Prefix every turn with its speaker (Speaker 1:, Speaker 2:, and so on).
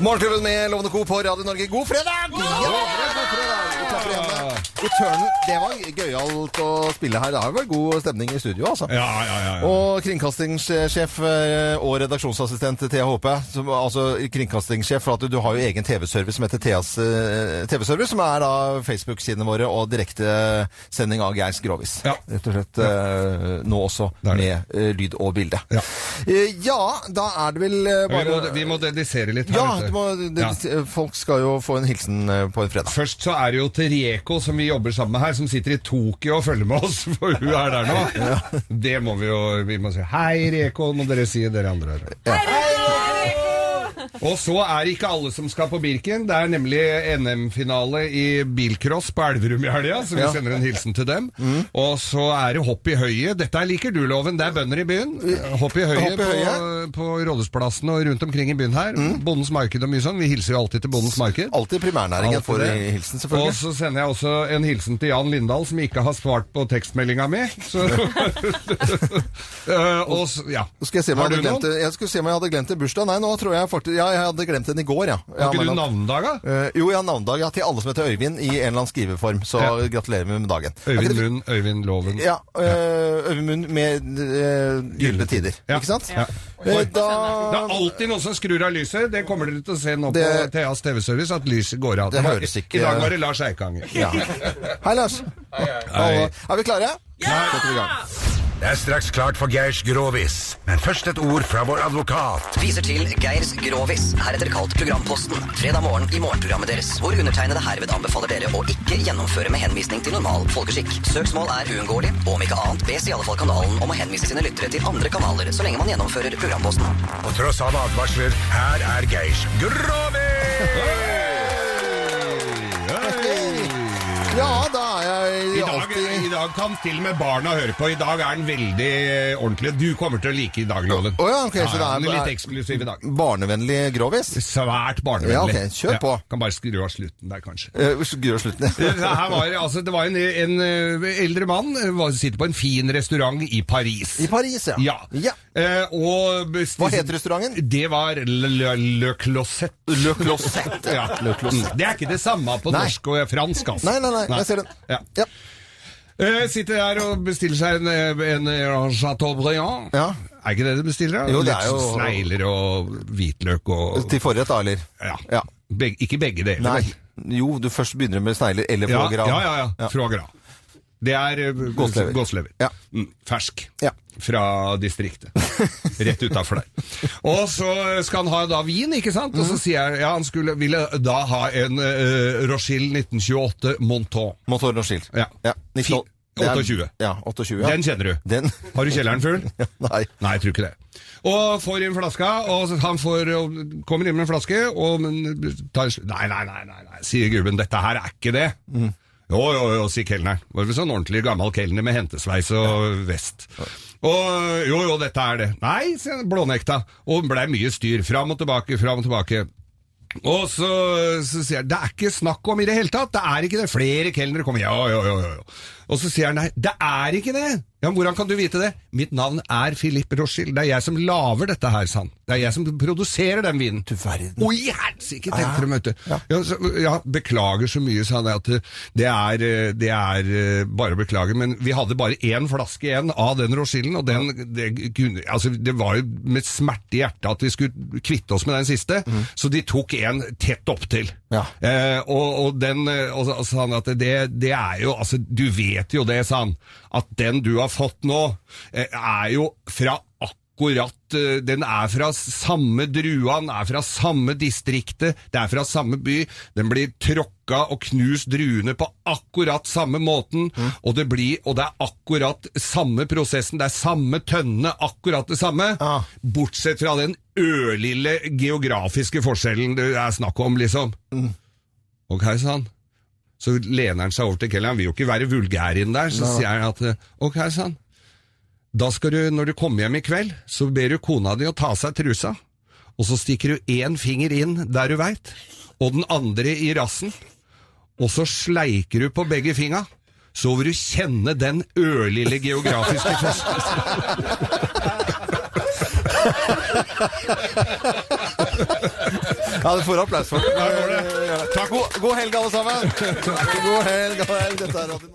Speaker 1: Morgenklubben med Lovende Co. på Radio Norge. God fredag! Ja, god fredag. Vi klapper igjen. Return, det var gøyalt å spille her. Det har vært god stemning i studio, altså.
Speaker 2: Ja, ja, ja. ja.
Speaker 1: Og kringkastingssjef eh, og redaksjonsassistent Thea Håpe. Som, altså kringkastingssjef, for at du, du har jo egen TV-service som heter Theas eh, TV-service, som er da Facebook-sidene våre og direktesending av Geir Grovis.
Speaker 2: Ja.
Speaker 1: Rett og slett eh, nå også
Speaker 2: Det er
Speaker 1: med
Speaker 2: det.
Speaker 1: eh, lyd og bilde.
Speaker 2: Ja.
Speaker 1: Eh, ja, da er det vel eh,
Speaker 2: vi, må,
Speaker 1: bare
Speaker 2: vi må dedisere litt her.
Speaker 1: ja,
Speaker 2: vet
Speaker 1: du må, det,
Speaker 2: Ja.
Speaker 1: folk skal jo få en hilsen eh, på en fredag.
Speaker 2: Først så er det jo til Reko, som vi jobber sammen med her, som sitter i Tokyo og følger med oss, for hun er der nå. Det må vi jo vi må si. Hei, Reko, må dere si, dere andre. Hei, Reko! Og så er det ikke alle som skal på Birken. Det er nemlig NM-finale i bilcross på Elverum i helga, så vi
Speaker 1: Ja. Mm.
Speaker 2: sender en hilsen til dem. Og så er det hopp i høyet. Dette liker du, Loven. Det er bønder i byen. Hopp i høyet
Speaker 1: Hopp i
Speaker 2: på,
Speaker 1: høyet.
Speaker 2: på Rådhusplassen og rundt omkring i byen her.
Speaker 1: Mm.
Speaker 2: Bondens marked og mye sånn. Vi hilser jo alltid til Bondens marked.
Speaker 1: Alltid primærnæringen
Speaker 2: Alt
Speaker 1: får
Speaker 2: det.
Speaker 1: en hilsen,
Speaker 2: Og
Speaker 1: selvfølgelig.
Speaker 2: så sender jeg også en hilsen til Jan Lindahl, som ikke har svart på tekstmeldinga mi. Så, Eh, og s- ja.
Speaker 1: Nå skal jeg, se om
Speaker 2: Har
Speaker 1: jeg, hadde
Speaker 2: du
Speaker 1: glemt,
Speaker 2: noen?
Speaker 1: det- jeg skulle se om jeg hadde glemt en bursdag. Nei, nå tror jeg faktisk Ja, jeg hadde glemt den i går, ja. ja
Speaker 2: Har ikke du
Speaker 1: men-
Speaker 2: navnedag, da?
Speaker 1: Eh, jo, jeg har navnedag ja, til alle som heter Øyvind i en eller annen skriveform. Så
Speaker 2: Ja.
Speaker 1: gratulerer vi med dagen.
Speaker 2: Øyvind Munn, Øyvind Loven.
Speaker 1: Ja, øh, Øyvind Munn med øh, gylne tider.
Speaker 2: Ja.
Speaker 1: Ikke sant?
Speaker 2: Ja.
Speaker 1: Eh, da
Speaker 2: Det er alltid noen som skrur av lyset. Det kommer dere til å se nå
Speaker 1: Det-
Speaker 2: på Theas TV-service, at lyset går av.
Speaker 1: Det høres ikke-
Speaker 2: I dag var det Lars Eikanger.
Speaker 1: ja. Hei, Lars. Hallo. Er vi klare? Ja! Setter vi i gang.
Speaker 3: Det er straks klart for Geirs Grovis, men først et ord fra vår advokat.
Speaker 4: Viser til Geirs Grovis, heretter kalt Programposten. Fredag morgen i morgenprogrammet deres, hvor undertegnede herved anbefaler dere å ikke gjennomføre med henvisning til normal folkeskikk. Søksmål er uunngåelig, og om ikke annet bes i alle fall kanalen om å henvise sine lyttere til andre kanaler så lenge man gjennomfører Programposten.
Speaker 3: På tross av advarsler, her er Geirs Grovis!
Speaker 1: Ja, da er
Speaker 2: I
Speaker 1: jeg
Speaker 2: dag, I
Speaker 1: alltid
Speaker 2: dag kan til og med barna høre på. I dag er den veldig ordentlig. Du kommer til å like i dag, Loven.
Speaker 1: Å ja, ok, så det er-
Speaker 2: den er litt eksklusiv i dag.
Speaker 1: Barnevennlig grovis.
Speaker 2: Svært barnevennlig.
Speaker 1: Ja, ok, kjør på.
Speaker 2: kan bare skru av slutten der, kanskje.
Speaker 1: Uh, Gud og slutten.
Speaker 2: Det, her var, altså, det var en, en eh, eldre mann eh, var, sitter på en fin restaurant i Paris.
Speaker 1: I Paris, ja.
Speaker 2: Ja. Eh, og
Speaker 1: Hva het restauranten?
Speaker 2: Det var Le, Le, Le Closet.
Speaker 1: Le Closet.
Speaker 2: Ja. Mm, Det er ikke det samme på
Speaker 1: Nei.
Speaker 2: norsk og fransk, altså.
Speaker 1: Nei, nei, nei, jeg ser den.
Speaker 2: Ja.
Speaker 1: Ja.
Speaker 2: Eh, sitter der og bestiller seg en, eh, en, en Chateaubriand.
Speaker 1: Ja.
Speaker 2: Er ikke det du bestiller? da?
Speaker 1: Jo, det
Speaker 2: Litt
Speaker 1: er jo-
Speaker 2: Snegler og hvitløk og
Speaker 1: Til forrett, da, eller?
Speaker 2: ja.
Speaker 1: Ja.
Speaker 2: Beg, Ikke begge deler.
Speaker 1: Nei.
Speaker 2: vel?
Speaker 1: Jo, du først begynner med snegler eller
Speaker 2: Ja,
Speaker 1: foie gras.
Speaker 2: ja, ja, ja. Foie gras. Det er eh,
Speaker 1: Gåslever.
Speaker 2: gåslever.
Speaker 1: Ja.
Speaker 2: Mm, fersk.
Speaker 1: Ja.
Speaker 2: Fra distriktet. Rett utafor der. Og så skal han ha da vin, ikke sant? Og så
Speaker 1: Mhm.
Speaker 2: sier jeg ja, han skulle, ville da ha en eh, Rochille 1928 Monton.
Speaker 1: Motor og skilt.
Speaker 2: Ja.
Speaker 1: ja. Nitten-
Speaker 2: Fi-
Speaker 1: det er-
Speaker 2: 28.
Speaker 1: Ja, 28, ja.
Speaker 2: Den kjenner du.
Speaker 1: Den.
Speaker 2: Har du kjelleren full?
Speaker 1: Nei.
Speaker 2: Nei, jeg tror ikke det. Og får inn flaska, og han får, og kommer inn med en flaske, og men, tar en sl- nei, nei, nei, nei, nei, sier gubben, dette her er ikke det. Jo, jo, jo, sier kelneren. Var det sånn ordentlig gammel kelner med hentesveis og vest. Og jo, jo, dette er det. Nei, sier han, blånekta. Og blei mye styr, fram og tilbake, fram og tilbake. Og så, så sier han det er ikke snakk om i det hele tatt. Det er ikke det. Flere kelnere kommer. Ja, ja, ja, ja, ja. Og så sier han nei, det er ikke det. Ja, men Hvordan kan du vite det? Mitt navn er Philip Rochil. Det er jeg som lager dette her, sa han. Det er jeg som produserer den vinen.
Speaker 1: Du verden.
Speaker 2: Å, i helsike, tenkte de, vet du. Ja, så, ja, beklager så mye, sa han. At det- det er, eh, det er eh, bare å beklage, men vi hadde bare én flaske igjen av den Rochillen, og den, det, kunne, altså, det var jo med smerte i hjertet at vi skulle kvitte oss med den siste, så de tok en tett opptil.
Speaker 1: Mhm. Ja.
Speaker 2: Eh, og, og den eh, og, så- sa han at det, det er jo Altså, du vet jo det, sa han, at den du har fått nå, eh, er jo fra akkurat eh, Den er fra samme drua, den er fra samme distriktet, det er fra samme by. Den blir tråkka og knust druene på akkurat samme måten,
Speaker 1: Mhm.
Speaker 2: og, det blir, og det er akkurat samme prosessen, det er samme tønne, akkurat det samme.
Speaker 1: Ja.
Speaker 2: Bortsett fra den ørlille geografiske forskjellen det er snakk om, liksom. Ok, sa han. Så lener han seg over til kelneren. Han vil jo ikke være vulgær inn der. Så sier han at eh, Ok, sa han. Da skal du, når du kommer hjem i kveld, så ber du kona di å ta av seg trusa, og så stikker du én finger inn der du veit, og den andre i rassen, og så sleiker du på begge fingra. Så vil du kjenne den ørlille geografiske festen.
Speaker 1: Ja, du får applaus for det. Takk. God, god helg, alle sammen. God helg. God helg. Dette er Radio